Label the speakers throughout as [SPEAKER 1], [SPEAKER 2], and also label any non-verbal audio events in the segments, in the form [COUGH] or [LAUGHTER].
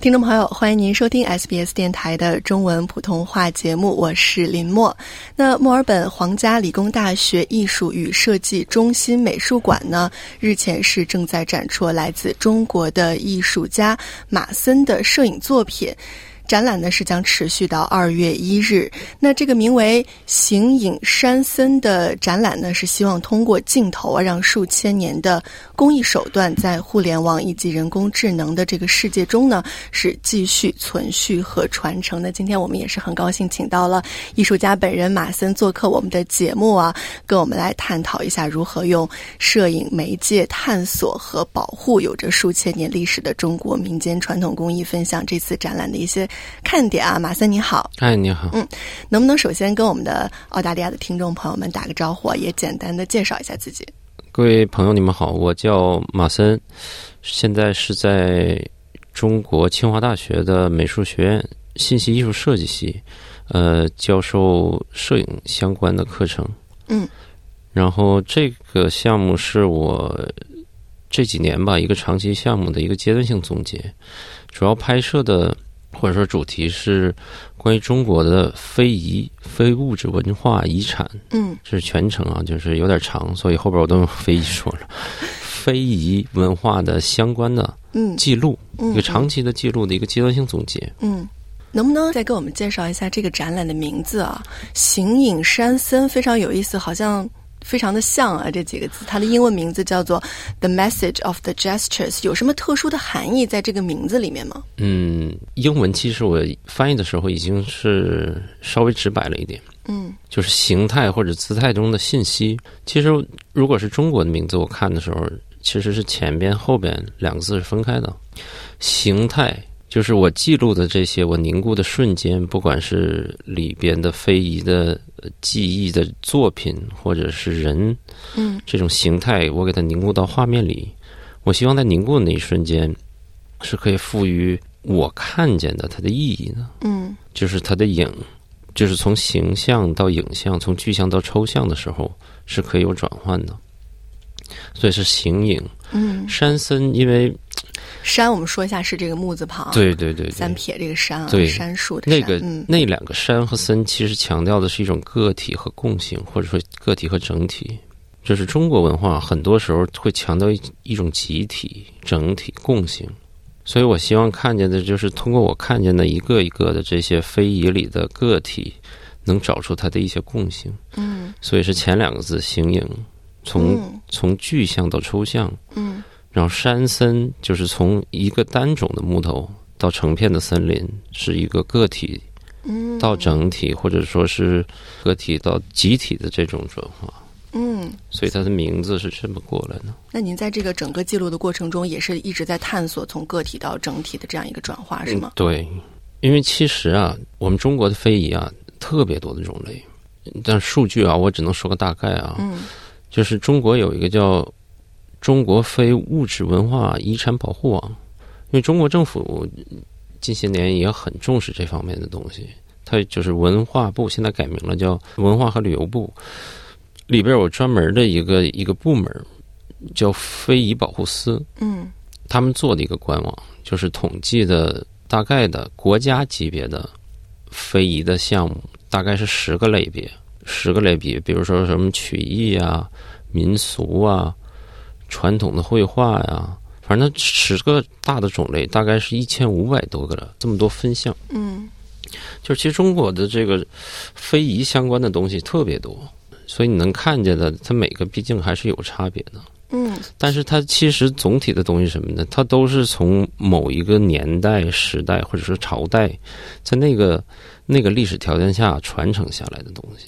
[SPEAKER 1] 听众朋友，欢迎您收听 SBS 电台的中文普通话节目，我是林墨。那墨尔本皇家理工大学艺术与设计中心美术馆呢，日前是正在展出来自中国的艺术家马森的摄影作品。展览呢是将持续到二月一日。那这个名为“形影山森”的展览呢，是希望通过镜头啊，让数千年的工艺手段在互联网以及人工智能的这个世界中呢，是继续存续和传承的。今天我们也是很高兴请到了艺术家本人马森做客我们的节目啊，跟我们来探讨一下如何用摄影媒介探索和保护有着数千年历史的中国民间传统工艺，分享这次展览的一些看点啊。马森你好，
[SPEAKER 2] 哎，你好，
[SPEAKER 1] 能不能首先跟我们的澳大利亚的听众朋友们打个招呼啊，也简单的介绍一下自己？
[SPEAKER 2] 各位朋友，你们好，我叫马森，现在是在中国清华大学的美术学院信息艺术设计系，呃，教授摄影相关的课程。
[SPEAKER 1] 嗯，
[SPEAKER 2] 然后这个项目是我这几年吧一个长期项目的一个阶段性总结，主要拍摄的或者说主题是关于中国的非遗、非物质文化遗产。
[SPEAKER 1] 嗯
[SPEAKER 2] 这是全程啊，就是有点长，所以后边我都用非遗说了。非遗文化的相关的
[SPEAKER 1] 嗯
[SPEAKER 2] 记录，一
[SPEAKER 1] 嗯
[SPEAKER 2] 个长期的记录的一个阶段性总结。
[SPEAKER 1] 嗯，能不能再给我们介绍一下这个展览的名字啊？形影山森非常有意思，好像非常的像啊这几个字。它的英文名字叫做《The Message of the Gestures》，有什么特殊的含义在这个名字里面吗？
[SPEAKER 2] 嗯，英文其实我翻译的时候已经是稍微直白了一点，
[SPEAKER 1] 嗯
[SPEAKER 2] 就是形态或者姿态中的信息。其实如果是中国的名字，我看的时候其实是前边后边两个字是分开的。形态就是我记录的这些，我凝固的瞬间，不管是里边的非遗的呃记忆的作品，或者是人
[SPEAKER 1] 嗯
[SPEAKER 2] 这种形态，我给它凝固到画面里。我希望在凝固的那一瞬间，是可以赋予我看见的它的意义的。
[SPEAKER 1] 嗯
[SPEAKER 2] 就是它的影，就是从形象到影像，从具象到抽象的时候，是可以有转换的。所以是形影
[SPEAKER 1] 嗯，
[SPEAKER 2] 山森，因为
[SPEAKER 1] 山我们说一下是这个木字旁，，
[SPEAKER 2] 对对对
[SPEAKER 1] 三
[SPEAKER 2] 对，
[SPEAKER 1] 撇这个山啊，
[SPEAKER 2] 对
[SPEAKER 1] 杉树的
[SPEAKER 2] 那
[SPEAKER 1] 山。
[SPEAKER 2] 个
[SPEAKER 1] 嗯
[SPEAKER 2] 那两个山和森其实强调的是一种个体和共性，或者说个体和整体。就是中国文化很多时候会强调一一种集体、整体、共性，所以我希望看见的就是通过我看见的一个一个的这些非遗里的个体，能找出它的一些共性。
[SPEAKER 1] 嗯
[SPEAKER 2] 所以是前两个字“形影”，从、
[SPEAKER 1] 嗯
[SPEAKER 2] 从具象到抽象，
[SPEAKER 1] 嗯
[SPEAKER 2] 然后山森就是从一个单种的木头到成片的森林，是一个个体
[SPEAKER 1] 嗯，
[SPEAKER 2] 到整体，或者说是个体到集体的这种转化，
[SPEAKER 1] 嗯。
[SPEAKER 2] 所以它的名字是这么过来的。
[SPEAKER 1] 那您在这个整个记录的过程中，也是一直在探索从个体到整体的这样一个转化，是吗？
[SPEAKER 2] 对，因为其实啊，我们中国的非遗啊，特别多的种类，但数据啊，我只能说个大概啊，
[SPEAKER 1] 嗯
[SPEAKER 2] 就是中国有一个叫中国非物质文化遗产保护网，因为中国政府近些年也很重视这方面的东西，它就是文化部现在改名了，叫文化和旅游部，里边有专门的一个一个部门叫非遗保护司，
[SPEAKER 1] 嗯
[SPEAKER 2] 他们做的一个官网，就是统计的大概的国家级别的非遗的项目，大概是十个类别，十个类别，比如说什么曲艺啊、民俗啊、传统的绘画呀、反正十个大的种类，大概是一千五百多个了，这么多分项。
[SPEAKER 1] 嗯
[SPEAKER 2] 就是其实中国的这个非遗相关的东西特别多，所以你能看见的，它每个毕竟还是有差别的。
[SPEAKER 1] 嗯
[SPEAKER 2] 但是它其实总体的东西是什么呢？它都是从某一个年代、时代或者说朝代，在那个那个历史条件下传承下来的东西。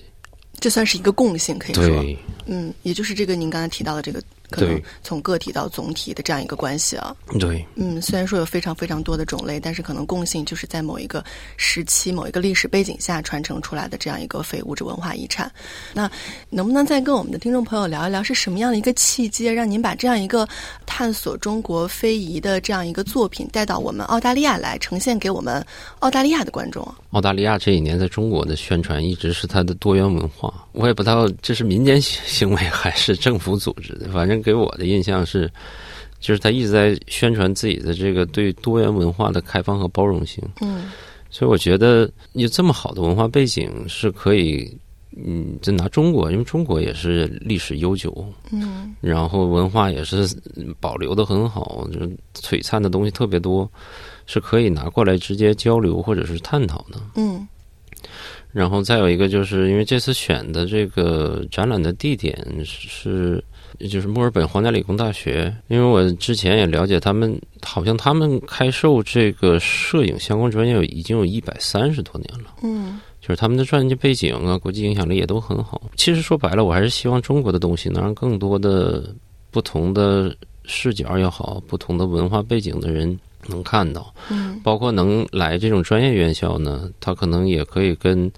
[SPEAKER 1] 这算是一个共性，可以说，
[SPEAKER 2] 对
[SPEAKER 1] 嗯，也就是这个您刚才提到的这个可能
[SPEAKER 2] 对
[SPEAKER 1] 从个体到总体的这样一个关系啊。
[SPEAKER 2] 对，
[SPEAKER 1] 嗯，虽然说有非常非常多的种类，但是可能共性就是在某一个时期、某一个历史背景下传承出来的这样一个非物质文化遗产。那能不能再跟我们的听众朋友聊一聊，是什么样的一个契机，让您把这样一个探索中国非遗的这样一个作品带到我们澳大利亚来，呈现给我们澳大利亚的观众？
[SPEAKER 2] 澳大利亚这几年在中国的宣传一直是它的多元文化，我也不知道这是民间 [LAUGHS] 行行为还是政府组织的，反正给我的印象是，就是他一直在宣传自己的这个对多元文化的开放和包容性。
[SPEAKER 1] 嗯
[SPEAKER 2] 所以我觉得有这么好的文化背景是可以，嗯，就拿中国，因为中国也是历史悠久，
[SPEAKER 1] 嗯
[SPEAKER 2] 然后文化也是嗯保留的很好，就是璀璨的东西特别多，是可以拿过来直接交流或者是探讨的。
[SPEAKER 1] 嗯
[SPEAKER 2] 然后再有一个，就是因为这次选的这个展览的地点是，就是墨尔本皇家理工大学。因为我之前也了解他们，好像他们开授这个摄影相关专业已经有一百三十多年了。
[SPEAKER 1] 嗯
[SPEAKER 2] 就是他们的专业背景啊，国际影响力也都很好。其实说白了，我还是希望中国的东西能让更多的不同的视角也好，不同的文化背景的人能看到。
[SPEAKER 1] 嗯
[SPEAKER 2] 包括能来这种专业院校呢，他可能也可以跟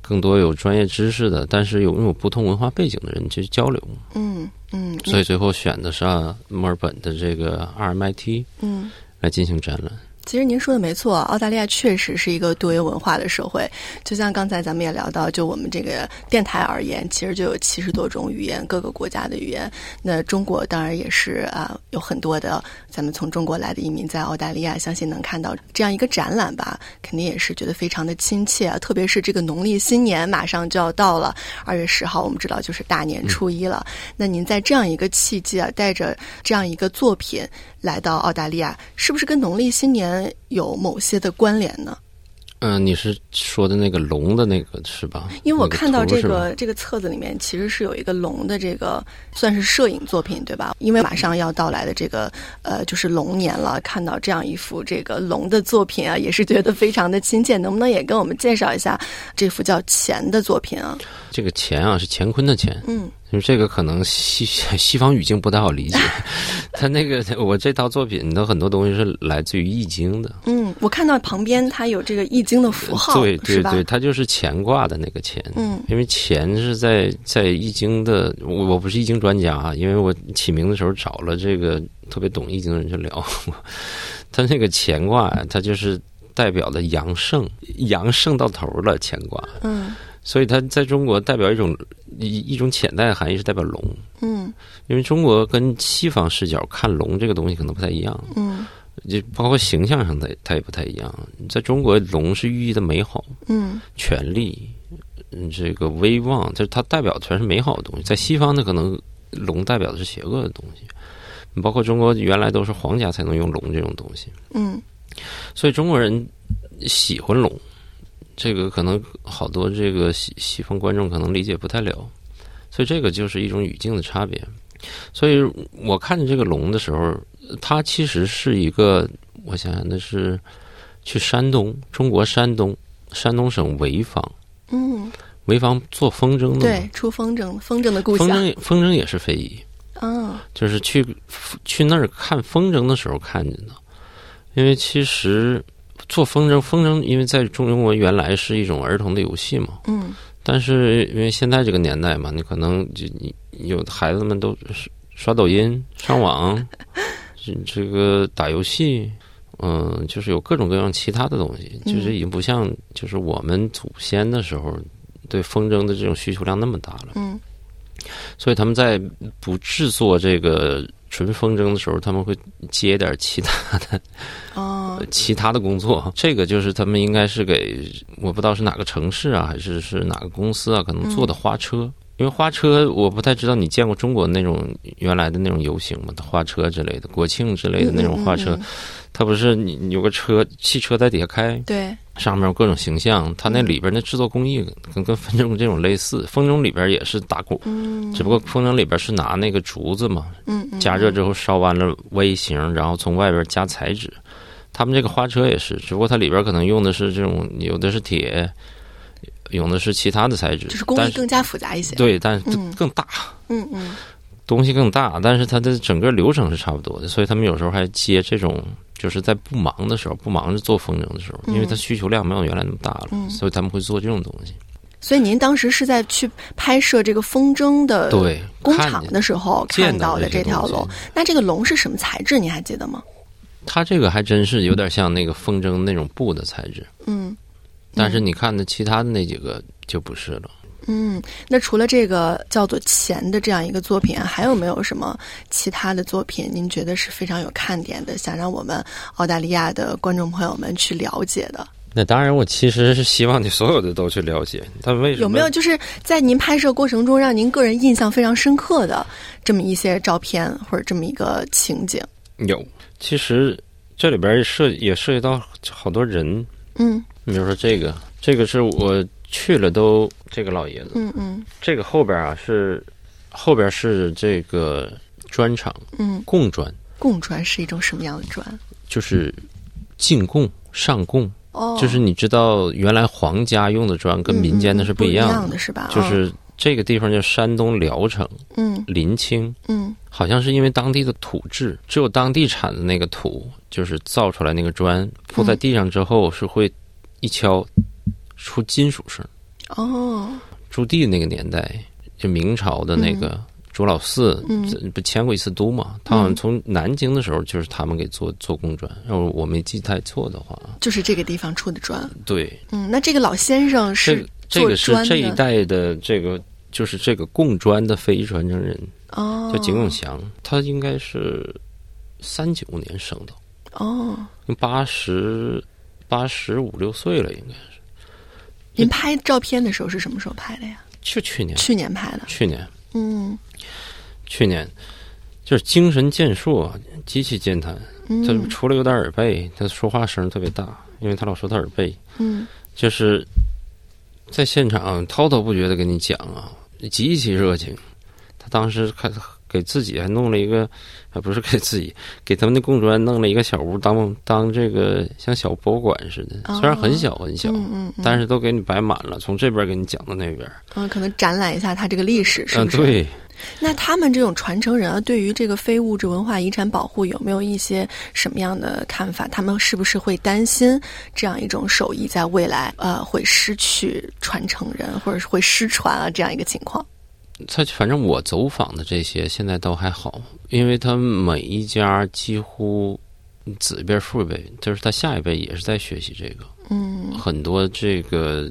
[SPEAKER 2] 更多有专业知识的，但是有拥有不同文化背景的人去交流。
[SPEAKER 1] 嗯嗯，
[SPEAKER 2] 所以最后选的是、啊、墨尔本的这个 RMIT
[SPEAKER 1] 嗯。
[SPEAKER 2] 来进行展览。
[SPEAKER 1] 其实您说的没错，澳大利亚确实是一个多元文化的社会。就像刚才咱们也聊到，就我们这个电台而言，其实就有七十多种语言，各个国家的语言。那中国当然也是啊、有很多的咱们从中国来的移民在澳大利亚，相信能看到这样一个展览吧，肯定也是觉得非常的亲切啊。特别是这个农历新年马上就要到了，二月十号我们知道就是大
[SPEAKER 2] 嗯
[SPEAKER 1] 年初一了。那您在这样一个契机啊，带着这样一个作品来到澳大利亚，是不是跟农历新年有某些的关联呢？
[SPEAKER 2] 嗯、你是说的那个龙的那个是吧？
[SPEAKER 1] 因为我
[SPEAKER 2] 那
[SPEAKER 1] 看到
[SPEAKER 2] 图
[SPEAKER 1] 这
[SPEAKER 2] 是吧
[SPEAKER 1] 个这个册子里面其实是有一个龙的这个算是摄影作品对吧？因为马上要到来的这个呃就是龙年了，看到这样一幅这个龙的作品啊，也是觉得非常的亲切。能不能也跟我们介绍一下这幅叫《钱》的作品啊？
[SPEAKER 2] 这个乾啊，是乾坤的乾。
[SPEAKER 1] 嗯
[SPEAKER 2] 因为这个可能西西 [LAUGHS] 方语境不太
[SPEAKER 1] [LAUGHS]
[SPEAKER 2] 好理解，他那个我这套作品的很多东西是来自于易经的，
[SPEAKER 1] 嗯，我看到旁边它有这个易经的符号，
[SPEAKER 2] 对对
[SPEAKER 1] 是吧
[SPEAKER 2] 对，？它就是乾卦的那个乾。
[SPEAKER 1] 嗯
[SPEAKER 2] 因为乾是在在易经的，我我不是易经专家啊，因为我起名的时候找了这个特别懂易经的人去聊， [LAUGHS] 他那个乾卦啊，它就是代表的阳盛，阳盛到头了，乾卦，
[SPEAKER 1] 嗯
[SPEAKER 2] 所以它在中国代表一种一一种潜在的含义是代表龙，
[SPEAKER 1] 嗯
[SPEAKER 2] 因为中国跟西方视角看龙这个东西可能不太一样，
[SPEAKER 1] 嗯
[SPEAKER 2] 就包括形象上它它也不太一样，在中国龙是寓意的美好。
[SPEAKER 1] 嗯
[SPEAKER 2] 权力，嗯，这个威望，就是它代表全是美好的东西。在西方呢，可能龙代表的是邪恶的东西，包括中国原来都是皇家才能用龙这种东西，
[SPEAKER 1] 嗯
[SPEAKER 2] 所以中国人喜欢龙，这个可能好多这个西西方观众可能理解不太了，所以这个就是一种语境的差别。所以我看见这个龙的时候，它其实是一个，我想想那是去山东，中国山东，山东省潍坊。
[SPEAKER 1] 嗯，
[SPEAKER 2] 潍坊做风筝的
[SPEAKER 1] 对
[SPEAKER 2] 嘛，，
[SPEAKER 1] 出风筝，风筝的故
[SPEAKER 2] 风
[SPEAKER 1] 乡。
[SPEAKER 2] 筝风筝也是非遗，
[SPEAKER 1] 嗯
[SPEAKER 2] 就是去去那儿看风筝的时候看见的，因为其实做风筝，风筝因为在中国原来是一种儿童的游戏嘛，
[SPEAKER 1] 嗯
[SPEAKER 2] 但是因为现在这个年代嘛，你可能就你有的孩子们都是刷抖音、上网，这这个打游戏，嗯、就是有各种各样其他的东西，
[SPEAKER 1] 嗯
[SPEAKER 2] 就是已经不像就是我们祖先的时候对风筝的这种需求量那么大了。
[SPEAKER 1] 嗯
[SPEAKER 2] 所以他们在不制作这个纯风筝的时候，他们会接点其他
[SPEAKER 1] 哦
[SPEAKER 2] [LAUGHS] 其他的工作。这个就是他们应该是给我不知道是哪个城市啊，还是是哪个公司啊，可能
[SPEAKER 1] 嗯
[SPEAKER 2] 做的花车。因为花车，我不太知道你见过中国那种原来的那种游行吗？花车之类的，国庆之类的那种花车，
[SPEAKER 1] 嗯嗯嗯
[SPEAKER 2] 它不是你你有个车汽车在底下开，
[SPEAKER 1] 对，
[SPEAKER 2] 上面有各种形象，它
[SPEAKER 1] 嗯
[SPEAKER 2] 那里边的制作工艺跟跟风筝这种类似，风筝里边也是打鼓，
[SPEAKER 1] 嗯
[SPEAKER 2] 只不过风筝里边是拿那个竹子嘛，
[SPEAKER 1] 嗯嗯
[SPEAKER 2] 加热之后烧完了微型，然后从外边加材质。他们这个花车也是，只不过它里边可能用的是这种，有的是铁，有的是其他的材质，
[SPEAKER 1] 就是工
[SPEAKER 2] 但
[SPEAKER 1] 艺更加复杂一些。
[SPEAKER 2] 对，但是
[SPEAKER 1] 嗯
[SPEAKER 2] 更大。
[SPEAKER 1] 嗯嗯
[SPEAKER 2] 东西更大，但是它的整个流程是差不多的，所以他们有时候还接这种，就是在不忙的时候，不忙着做风筝的时
[SPEAKER 1] 嗯
[SPEAKER 2] 候，因为它需求量没有原来那么大了，所以他们会做这种东西。
[SPEAKER 1] 所以您当时是在去拍摄这个风筝的
[SPEAKER 2] 对，
[SPEAKER 1] 呃工
[SPEAKER 2] 看
[SPEAKER 1] 厂
[SPEAKER 2] 见
[SPEAKER 1] 的时候看
[SPEAKER 2] 见到
[SPEAKER 1] 到的
[SPEAKER 2] 这
[SPEAKER 1] 这
[SPEAKER 2] 些
[SPEAKER 1] 条
[SPEAKER 2] 东西
[SPEAKER 1] 龙。那这个龙是什么材质？您还记得吗？
[SPEAKER 2] 它这个还真是有点像那个风筝那种布的材质，
[SPEAKER 1] 嗯
[SPEAKER 2] 但是你看的其他的那几个就不是了。
[SPEAKER 1] 嗯。那除了这个叫做《钱》的这样一个作品，还有没有什么其他的作品？您觉得是非常有看点的，想让我们澳大利亚的观众朋友们去了解的？
[SPEAKER 2] 那当然，我其实是希望你所有的都去了解，但为什么
[SPEAKER 1] 有没有就是在您拍摄过程中让您个人印象非常深刻的这么一些照片或者这么一个情景？
[SPEAKER 2] 有？其实这里边涉也涉及到好多人，
[SPEAKER 1] 嗯
[SPEAKER 2] 你比如说这个，这个是我去了都这个老爷子，
[SPEAKER 1] 嗯嗯
[SPEAKER 2] 这个后边啊是后边是这个砖厂
[SPEAKER 1] 嗯，
[SPEAKER 2] 供砖，
[SPEAKER 1] 贡砖是一种什么样的砖？
[SPEAKER 2] 就是进贡上贡，
[SPEAKER 1] 哦，
[SPEAKER 2] 就是你知道原来皇家用的砖跟民间的是
[SPEAKER 1] 嗯不
[SPEAKER 2] 一
[SPEAKER 1] 样
[SPEAKER 2] 样的，
[SPEAKER 1] 的是吧？
[SPEAKER 2] 就是这个地方叫山东聊城
[SPEAKER 1] 嗯
[SPEAKER 2] 临清，
[SPEAKER 1] 嗯
[SPEAKER 2] 好像是因为当地的土质，只有当地产的那个土，就是造出来那个砖铺在地上之后是会一敲出金属声。
[SPEAKER 1] 哦
[SPEAKER 2] 朱棣那个年代，就明朝的那
[SPEAKER 1] 嗯
[SPEAKER 2] 个朱老四，这不迁过一次都嘛？他好像从南京的时候就是他们给做做工砖，要是我没记太错的话，
[SPEAKER 1] 就是这个地方出的砖。
[SPEAKER 2] 对，
[SPEAKER 1] 嗯，那这个老先生
[SPEAKER 2] 这
[SPEAKER 1] 是
[SPEAKER 2] 个这个是
[SPEAKER 1] 做砖
[SPEAKER 2] 这一
[SPEAKER 1] 的
[SPEAKER 2] 代的这个就是这个供砖的非遗传承人，
[SPEAKER 1] 哦
[SPEAKER 2] 叫景永祥，他应该是三九年生的。
[SPEAKER 1] 哦，
[SPEAKER 2] 八十八十五六岁了，应该
[SPEAKER 1] 您拍照片的时候是什么时候拍的呀？
[SPEAKER 2] 就去年，
[SPEAKER 1] 去年拍的。
[SPEAKER 2] 去年，
[SPEAKER 1] 嗯
[SPEAKER 2] 去年，就是精神健硕啊，极其健谈。他
[SPEAKER 1] 嗯
[SPEAKER 2] 除了有点耳背，他说话声特别大，因为他老说他耳背，
[SPEAKER 1] 嗯
[SPEAKER 2] 就是在现场滔滔不绝的跟你讲啊，极其热情。他当时还给自己还弄了一个，啊不是给自己，给他们的供砖弄了一个小屋当当这个像小博物馆似的，虽然很小很小，
[SPEAKER 1] 嗯嗯嗯，
[SPEAKER 2] 但是都给你摆满了，从这边给你讲到那边。
[SPEAKER 1] 嗯，可能展览一下他这个历史，是
[SPEAKER 2] 嗯，
[SPEAKER 1] 不是？
[SPEAKER 2] 对，
[SPEAKER 1] 那他们这种传承人啊，对于这个非物质文化遗产保护有没有一些什么样的看法？他们是不是会担心这样一种手艺在未来呃会失去传承人，或者是会失传啊这样一个情况？
[SPEAKER 2] 他反正我走访的这些现在都还好，因为他每一家几乎子一辈父一辈，就是他下一辈也是在学习这个，
[SPEAKER 1] 嗯，
[SPEAKER 2] 很多这个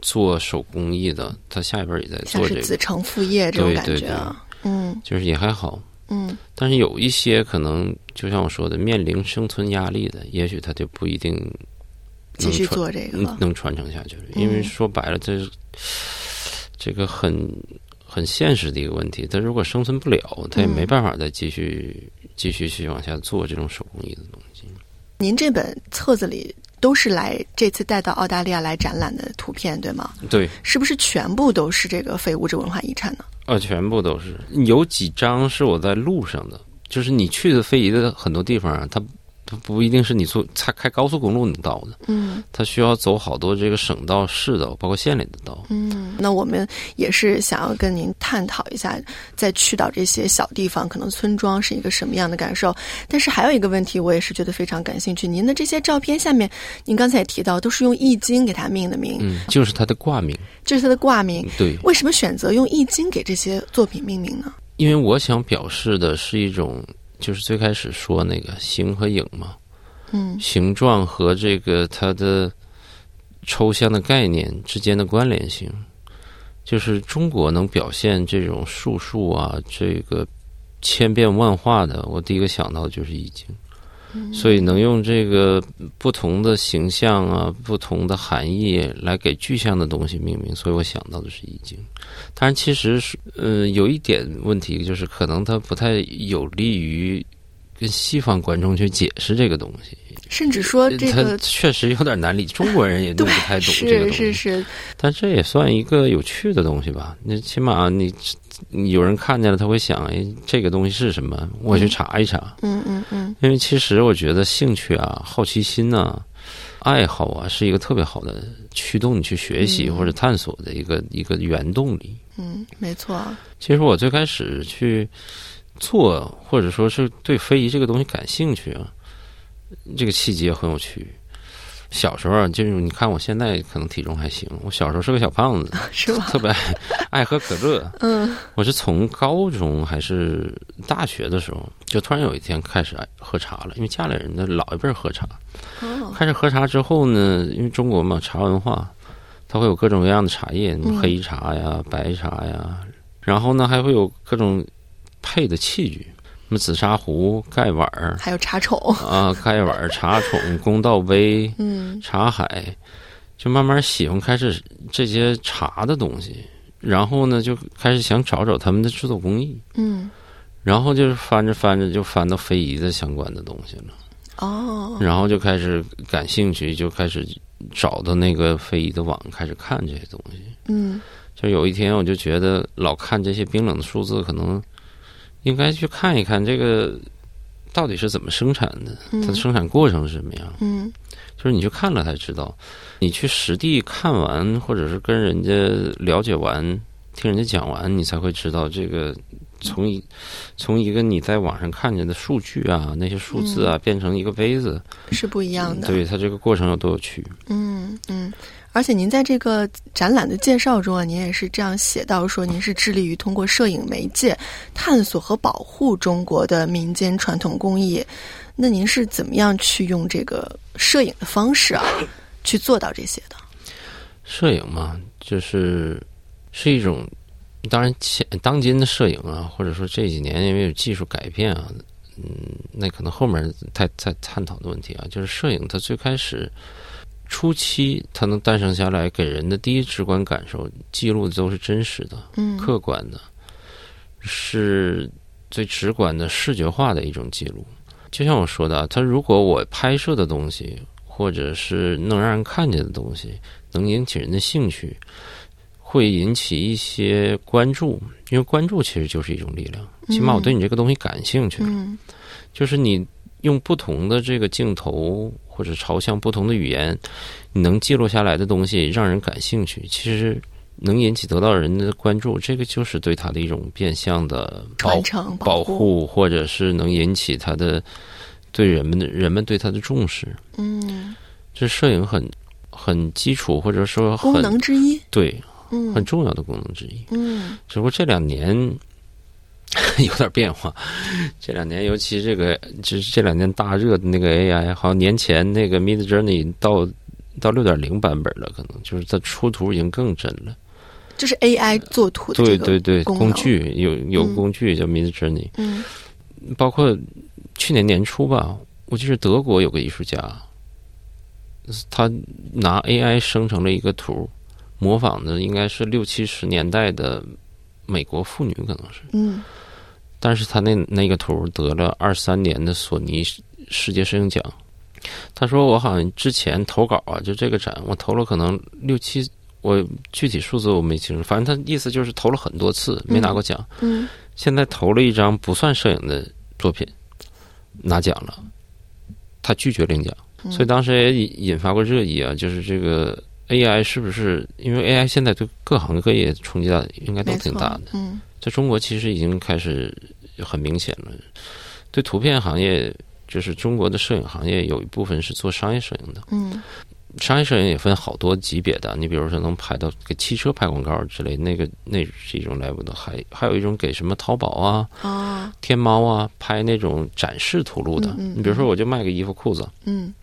[SPEAKER 2] 做手工艺的，他下一辈也在
[SPEAKER 1] 像
[SPEAKER 2] 做这
[SPEAKER 1] 是
[SPEAKER 2] 个
[SPEAKER 1] 子，承父业这种
[SPEAKER 2] 对
[SPEAKER 1] 感
[SPEAKER 2] 对
[SPEAKER 1] 觉啊。嗯
[SPEAKER 2] 就是也还好。
[SPEAKER 1] 嗯
[SPEAKER 2] 但是有一些可能，就像我说的，面临生存压力的，也许他就不一定
[SPEAKER 1] 继续
[SPEAKER 2] 传
[SPEAKER 1] 做这个
[SPEAKER 2] 能
[SPEAKER 1] 了。
[SPEAKER 2] 能传承下去了。因为
[SPEAKER 1] 嗯
[SPEAKER 2] 说白了，这是这个很很现实的一个问题。他如果生存不了，他也没
[SPEAKER 1] 嗯
[SPEAKER 2] 办法再继续、继续去往下做这种手工艺的东西。
[SPEAKER 1] 您这本册子里都是来这次带到澳大利亚来展览的图片，对吗？
[SPEAKER 2] 对，
[SPEAKER 1] 是不是全部都是这个非物质文化遗产呢？
[SPEAKER 2] 呃，全部都是有几张是我在路上的，就是你去的非遗的很多地方啊，它它不一定是你坐它开高速公路能到的，
[SPEAKER 1] 嗯。
[SPEAKER 2] 它需要走好多这个省道、市道，包括县里的道。
[SPEAKER 1] 嗯，那我们也是想要跟您探讨一下，在去到这些小地方，可能村庄是一个什么样的感受。但是还有一个问题，我也是觉得非常感兴趣。您的这些照片下面，您刚才也提到，都是用易经给它命的名，
[SPEAKER 2] 嗯，就是它的挂名，
[SPEAKER 1] 这是它的挂名。
[SPEAKER 2] 对。
[SPEAKER 1] 为什么选择用易经给这些作品命名呢？
[SPEAKER 2] 因为我想表示的是一种，就是最开始说那个形和影嘛，
[SPEAKER 1] 嗯
[SPEAKER 2] 形状和这个它的抽象的概念之间的关联性，就是中国能表现这种术数啊，这个千变万化的，我第一个想到的就是易经。所以能用这个不同的形象啊、不同的含义来给具象的东西命名，所以我想到的是易经。当然，其实是呃有一点问题，就是可能它不太有利于跟西方观众去解释这个东西。
[SPEAKER 1] 甚至说呃这
[SPEAKER 2] 呃它
[SPEAKER 1] 个
[SPEAKER 2] 确实有点难理，中国人也弄
[SPEAKER 1] 对
[SPEAKER 2] 不太懂这个
[SPEAKER 1] 是
[SPEAKER 2] 东
[SPEAKER 1] 是
[SPEAKER 2] 西。
[SPEAKER 1] 是，
[SPEAKER 2] 但这也算一个有趣的东西吧？那起码你你有人看见了，他会想：哎，这个东西是什么？我去查一查。
[SPEAKER 1] 嗯嗯嗯
[SPEAKER 2] 因为其实我觉得兴趣啊、好奇心呐、爱好啊，是一个特别好的驱动你去学习或者探索的一个一个原动力。
[SPEAKER 1] 嗯，没错，
[SPEAKER 2] 其实我最开始去做，或者说是对非遗这个东西感兴趣啊，这个契机也很有趣。小时候啊就是你看我现在可能体重还行，我小时候是个小胖子，
[SPEAKER 1] 是吧？
[SPEAKER 2] 特别爱爱喝可乐。
[SPEAKER 1] [LAUGHS] 嗯，
[SPEAKER 2] 我是从高中还是大学的时候，就突然有一天开始爱喝茶了，因为家里人的老一辈儿喝茶。
[SPEAKER 1] 哦，
[SPEAKER 2] 开始喝茶之后呢，因为中国嘛茶文化，它会有各种各样的茶叶，
[SPEAKER 1] 嗯
[SPEAKER 2] 黑茶呀、白茶呀，然后呢还会有各种配的器具，什么紫砂壶、盖碗儿
[SPEAKER 1] 还有茶宠，
[SPEAKER 2] 啊、盖碗儿、茶 [LAUGHS] 宠、公道杯、
[SPEAKER 1] 嗯
[SPEAKER 2] 茶海，就慢慢喜欢开始这些茶的东西，然后呢就开始想找找他们的制作工艺，
[SPEAKER 1] 嗯，
[SPEAKER 2] 然后就是翻着翻着就翻到非遗的相关的东西了。
[SPEAKER 1] 哦，
[SPEAKER 2] 然后就开始感兴趣，就开始找到那个非遗的网，开始看这些东西。
[SPEAKER 1] 嗯
[SPEAKER 2] 就有一天，我就觉得老看这些冰冷的数字，可能应该去看一看这个到底是怎么生产的，它的
[SPEAKER 1] 嗯
[SPEAKER 2] 生产过程是什么样。
[SPEAKER 1] 嗯
[SPEAKER 2] 就是你去看了才知道，你去实地看完，或者是跟人家了解完，听人家讲完，你才会知道这个从一从一个你在网上看见的数据啊，那些数字啊，变成一个杯子。
[SPEAKER 1] 是不一样的，
[SPEAKER 2] 嗯对它这个过程有多有趣？
[SPEAKER 1] 嗯嗯。而且您在这个展览的介绍中啊，您也是这样写到说，您是致力于通过摄影媒介探索和保护中国的民间传统工艺。那您是怎么样去用这个摄影的方式啊，去做到这些的？
[SPEAKER 2] 摄影嘛，就是是一种，当然前当今的摄影啊，或者说这几年因为有技术改变啊，嗯，那可能后面再再探讨的问题啊，就是摄影它最开始初期它能诞生下来，给人的第一直观感受，记录的都是真实的、
[SPEAKER 1] 嗯，
[SPEAKER 2] 客观的，是最直观的视觉化的一种记录。就像我说的啊，它如果我拍摄的东西，或者是能让人看见的东西，能引起人的兴趣，会引起一些关注，因为关注其实就是一种力量。起码我对你这个东西感兴趣，
[SPEAKER 1] 嗯
[SPEAKER 2] 就是你用不同的这个镜头或者朝向不同的语言，你能记录下来的东西让人感兴趣，其实能引起得到人的关注，这个就是对他的一种变相的保
[SPEAKER 1] 传承
[SPEAKER 2] 保
[SPEAKER 1] 护，
[SPEAKER 2] 护，或者是能引起他的对人们的人们对他的重视。
[SPEAKER 1] 嗯，
[SPEAKER 2] 这摄影很很基础，或者说很
[SPEAKER 1] 功能之一，
[SPEAKER 2] 对
[SPEAKER 1] 嗯
[SPEAKER 2] 很重要的功能之一。
[SPEAKER 1] 嗯
[SPEAKER 2] 只不过这两年 [LAUGHS] 有点变化，这两年尤其这个，就是这两年大热的那个 AI，好像年前那个 Mid Journey 到到六点零版本了，可能就是它出图已经更真了。
[SPEAKER 1] 这是 AI 做图的这
[SPEAKER 2] 嗯对
[SPEAKER 1] 个
[SPEAKER 2] 对对，
[SPEAKER 1] 功能
[SPEAKER 2] 工具有有
[SPEAKER 1] 嗯
[SPEAKER 2] 工具叫 Mid Journey，、
[SPEAKER 1] 嗯
[SPEAKER 2] 包括去年年初吧，我记得德国有个艺术家，他拿 AI 生成了一个图，模仿的应该是六七十年代的美国妇女，可能是。
[SPEAKER 1] 嗯
[SPEAKER 2] 但是他那那个图得了二三年的索尼世世界摄影奖。他说我好像之前投稿啊，就这个展我投了可能六七，我具体数字我没清楚，反正他意思就是投了很多次没拿过奖，
[SPEAKER 1] 嗯，
[SPEAKER 2] 现在投了一张不算摄影的作品，拿奖了，他拒绝领奖，
[SPEAKER 1] 嗯
[SPEAKER 2] 所以当时也引引发过热议啊，就是这个 AI 是不是因为 AI 现在对各行各业冲击大，应该都
[SPEAKER 1] 没
[SPEAKER 2] 挺
[SPEAKER 1] 错
[SPEAKER 2] 大的。
[SPEAKER 1] 嗯
[SPEAKER 2] 在中国其实已经开始很明显了，对图片行业，就是中国的摄影行业有一部分是做商业摄影的，
[SPEAKER 1] 嗯
[SPEAKER 2] 商业摄影也分好多级别的，你比如说能拍到给汽车拍广告之类，那个那是一种 level 的，还还有一种给什么淘宝啊、
[SPEAKER 1] 啊
[SPEAKER 2] 天猫啊拍那种展示图录的，
[SPEAKER 1] 嗯嗯
[SPEAKER 2] 你比如说我就卖个衣服裤子，
[SPEAKER 1] 嗯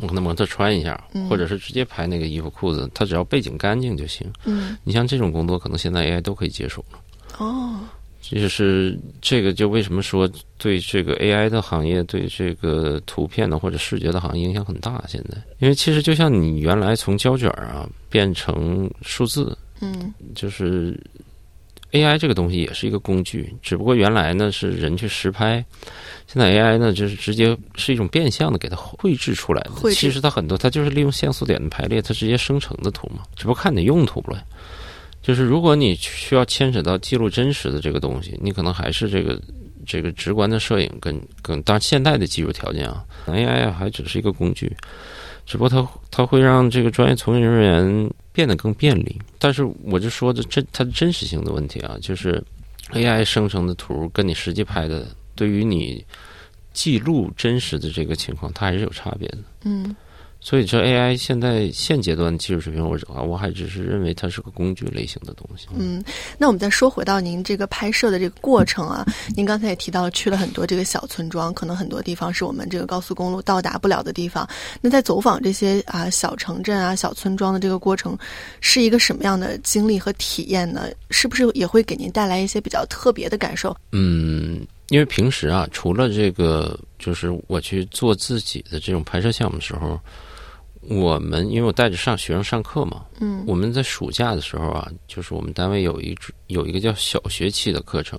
[SPEAKER 2] 我可能模特穿一下
[SPEAKER 1] 嗯，
[SPEAKER 2] 或者是直接拍那个衣服裤子，它只要背景干净就行。
[SPEAKER 1] 嗯
[SPEAKER 2] 你像这种工作，可能现在 AI 都可以接手。
[SPEAKER 1] 哦
[SPEAKER 2] 这就是这个，就为什么说对这个 AI 的行业，对这个图片的或者视觉的行业影响很大。现在，因为其实就像你原来从胶卷啊变成数字，
[SPEAKER 1] 嗯
[SPEAKER 2] 就是 AI 这个东西也是一个工具，只不过原来呢是人去实拍，现在 AI 呢就是直接是一种变相的给它绘制出来
[SPEAKER 1] 绘
[SPEAKER 2] 的。
[SPEAKER 1] 制
[SPEAKER 2] 其实它很多，它就是利用像素点的排列，它直接生成的图嘛，只不过看你用途了。就是如果你需要牵扯到记录真实的这个东西，你可能还是这个这个直观的摄影跟跟当然现代的技术条件啊，AI 啊还只是一个工具。只不过它它会让这个专业从业人员变得更便利。但是我就说的真它的真实性的问题啊，就是 AI 生成的图跟你实际拍的，对于你记录真实的这个情况，它还是有差别的。
[SPEAKER 1] 嗯
[SPEAKER 2] 所以这 AI 现在现阶段技术水平，我啊我还只是认为它是个工具类型的东西。
[SPEAKER 1] 嗯，那我们再说回到您这个拍摄的这个过程啊，您刚才也提到去了很多这个小村庄，可能很多地方是我们这个高速公路到达不了的地方。那在走访这些啊小城镇啊小村庄的这个过程，是一个什么样的经历和体验呢？是不是也会给您带来一些比较特别的感受？
[SPEAKER 2] 嗯，因为平时啊，除了这个，就是我去做自己的这种拍摄项目的时候，我们因为我带着上学生上课嘛，
[SPEAKER 1] 嗯
[SPEAKER 2] 我们在暑假的时候啊，就是我们单位有一支有一个叫小学期的课程，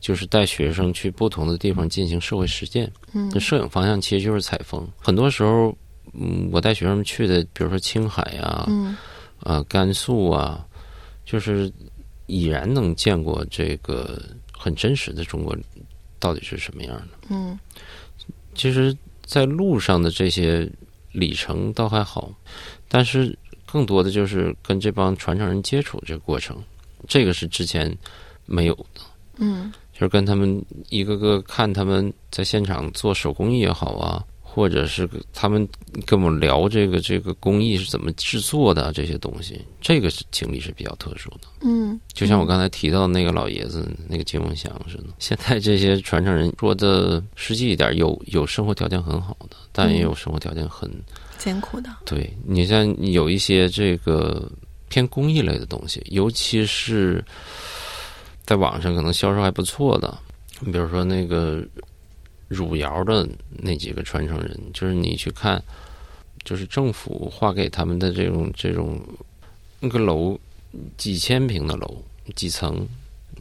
[SPEAKER 2] 就是带学生去不同的地方进行社会实践。
[SPEAKER 1] 嗯
[SPEAKER 2] 那摄影方向其实就是采风，很多时候，嗯，我带学生们去的，比如说青海呀、
[SPEAKER 1] 嗯
[SPEAKER 2] 啊、甘肃啊，就是已然能见过这个很真实的中国到底是什么样的。
[SPEAKER 1] 嗯
[SPEAKER 2] 其实，在路上的这些里程倒还好，但是更多的就是跟这帮传承人接触这个过程，这个是之前没有的。
[SPEAKER 1] 嗯
[SPEAKER 2] 就是跟他们一个个看他们在现场做手工艺也好啊，或者是他们跟我们聊这个这个工艺是怎么制作的啊这些东西，这个是经历是比较特殊的。
[SPEAKER 1] 嗯，
[SPEAKER 2] 就像我刚才提到那个老爷子，那个金梦祥似的，现在这些传承人说的实际一点，有有生活条件很好的，但也有生活条件很
[SPEAKER 1] 艰苦的，
[SPEAKER 2] 对你像有一些这个偏公益类的东西，尤其是在网上可能销售还不错的，你比如说那个汝窑的那几个传承人，就是你去看，就是政府划给他们的这种这种那个楼，几千平的楼，几层。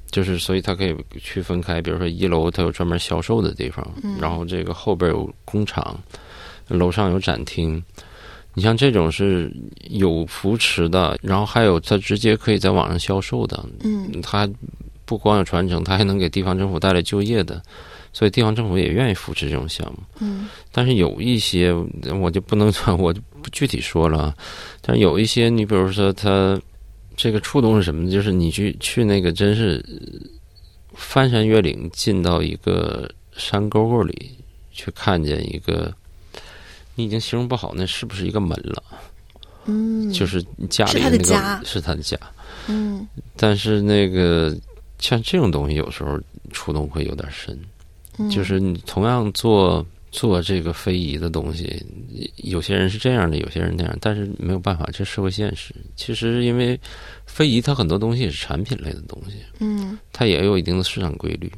[SPEAKER 2] 就是，所以它可以区分开，比如说一楼它有专门销售的地方，
[SPEAKER 1] 嗯
[SPEAKER 2] 然后这个后边有工厂，楼上有展厅，你像这种是有扶持的，然后还有它直接可以在网上销售的，
[SPEAKER 1] 嗯
[SPEAKER 2] 它不光有传承，它还能给地方政府带来就业的，所以地方政府也愿意扶持这种项目。
[SPEAKER 1] 嗯
[SPEAKER 2] 但是有一些我就不能说， [LAUGHS] 我就不具体说了啊。但是有一些，你比如说它这个触动是什么呢？就是你去去那个真是呃翻山越岭，进到一个山沟沟里，去看见一个，你已经形容不好那是不是一个门了？
[SPEAKER 1] 嗯，
[SPEAKER 2] 就是家里
[SPEAKER 1] 是他的
[SPEAKER 2] 那个
[SPEAKER 1] 家
[SPEAKER 2] 是他的家，
[SPEAKER 1] 嗯
[SPEAKER 2] 但是那个像这种东西有时候触动会有点深，
[SPEAKER 1] 嗯
[SPEAKER 2] 就是你同样做做这个非遗的东西，有些人是这样的，有些人那样，但是没有办法，这是社会现实。其实因为非遗它很多东西也是产品类的东西，
[SPEAKER 1] 嗯
[SPEAKER 2] 它也有一定的市场规律。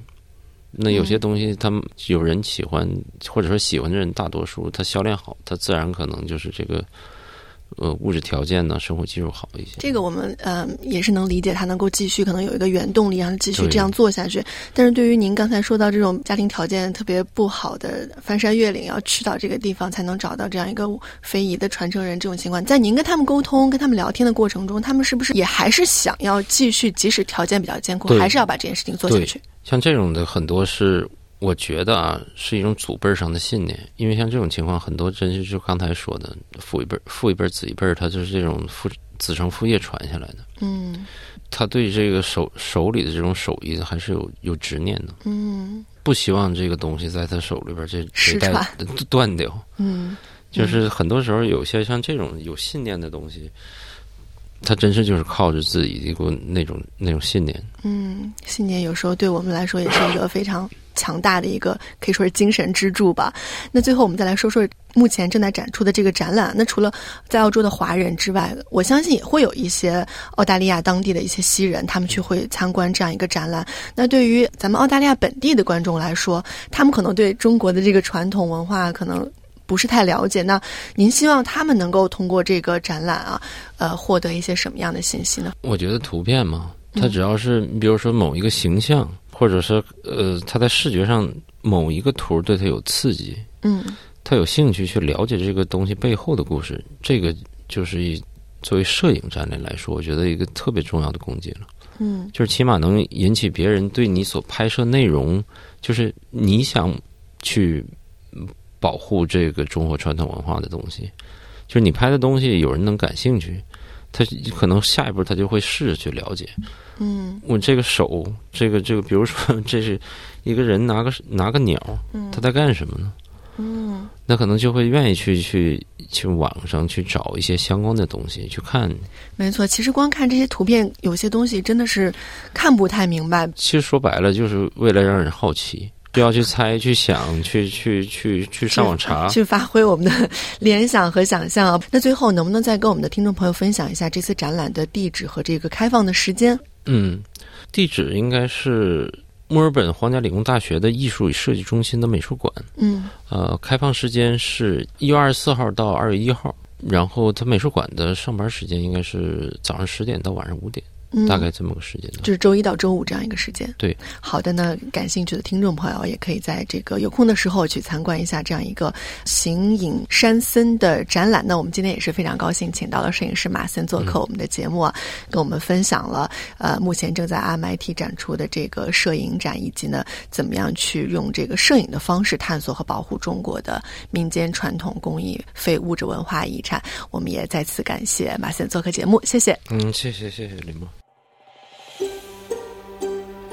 [SPEAKER 2] 那有些
[SPEAKER 1] 嗯
[SPEAKER 2] 东西，他们有人喜欢，或者说喜欢的人大多数，它销量好，它自然可能就是这个，呃，物质条件呢，生活技术好一些。
[SPEAKER 1] 这个我们呃也是能理解，他能够继续，可能有一个原动力，让他继续
[SPEAKER 2] 对
[SPEAKER 1] 这样做下去。但是对于您刚才说到这种家庭条件特别不好的呃翻山越岭，要去到这个地方才能找到这样一个非遗的传承人这种情况，在您跟他们沟通、跟他们聊天的过程中，他们是不是也还是想要继续，即使条件比较艰苦，
[SPEAKER 2] 对
[SPEAKER 1] 还是要把这件事情做下
[SPEAKER 2] 对
[SPEAKER 1] 去？
[SPEAKER 2] 像这种的很多是，我觉得啊，是一种祖辈儿上的信念，因为像这种情况，很多真是就刚才说的，父一辈儿、父一辈儿、子一辈儿，他就是这种父子承父业传下来的，
[SPEAKER 1] 嗯
[SPEAKER 2] 他对这个手手里的这种手艺还是有有执念的，
[SPEAKER 1] 嗯
[SPEAKER 2] 不希望这个东西在他手里边儿这这
[SPEAKER 1] 失
[SPEAKER 2] 一代
[SPEAKER 1] 传 [LAUGHS]
[SPEAKER 2] 断掉。
[SPEAKER 1] 嗯
[SPEAKER 2] 就是很多时候有些像这种有信念的东西，他真是就是靠着自己的一股那种那种信念。
[SPEAKER 1] 嗯，信念有时候对我们来说也是一个非常强大的一个，可以说是精神支柱吧。那最后我们再来说说目前正在展出的这个展览。那除了在澳洲的华人之外，我相信也会有一些澳大利亚当地的一些西人，他们去会参观这样一个展览。那对于咱们澳大利亚本地的观众来说，他们可能对中国的这个传统文化可能不是太了解。那您希望他们能够通过这个展览啊，呃，获得一些什么样的信息呢？
[SPEAKER 2] 我觉得图片嘛，
[SPEAKER 1] 嗯
[SPEAKER 2] 它只要是你比如说某一个形象，或者是呃，他在视觉上某一个图对他有刺激，
[SPEAKER 1] 嗯
[SPEAKER 2] 他有兴趣去了解这个东西背后的故事，这个就是一作为摄影战略来说，我觉得一个特别重要的功绩了。
[SPEAKER 1] 嗯
[SPEAKER 2] 就是起码能引起别人对你所拍摄内容，就是你想去保护这个中国传统文化的东西。就是你拍的东西，有人能感兴趣，他可能下一步他就会试去了解。
[SPEAKER 1] 嗯
[SPEAKER 2] 我这个手，这个这个，比如说 [LAUGHS] 这是一个人拿个拿个鸟，他在干什么呢？
[SPEAKER 1] 嗯
[SPEAKER 2] 那可能就会愿意去去去网上去找一些相关的东西去看。
[SPEAKER 1] 没错。其实光看这些图片，有些东西真的是看不太明白。
[SPEAKER 2] 其实说白了，就是为了让人好奇，就要去猜、去想、去去去去上网查。
[SPEAKER 1] 去发挥我们的 [LAUGHS] 联想和想象啊。那最后，能不能再跟我们的听众朋友分享一下这次展览的地址和这个开放的时间？
[SPEAKER 2] 嗯，地址应该是墨尔本皇家理工大学的艺术与设计中心的美术馆。
[SPEAKER 1] 嗯
[SPEAKER 2] 呃，开放时间是一月二十四号到二月一号，然后它美术馆的上班时间应该是早上十点到晚上五点，
[SPEAKER 1] 嗯，
[SPEAKER 2] 大概这么个时间段。
[SPEAKER 1] 就是周一到周五这样一个时间。
[SPEAKER 2] 对，
[SPEAKER 1] 好的呢，感兴趣的听众朋友也可以在这个有空的时候去参观一下这样一个形影山森的展览。那我们今天也是非常高兴，请到了摄影师马森做客我们的节目啊，跟我们分享了呃目前正在 MIT 展出的这个摄影展，以及呢怎么样去用这个摄影的方式探索和保护中国的民间传统工艺非物质文化遗产。我们也再次感谢马森做客节目，谢谢。
[SPEAKER 2] 嗯，谢谢谢谢林梦。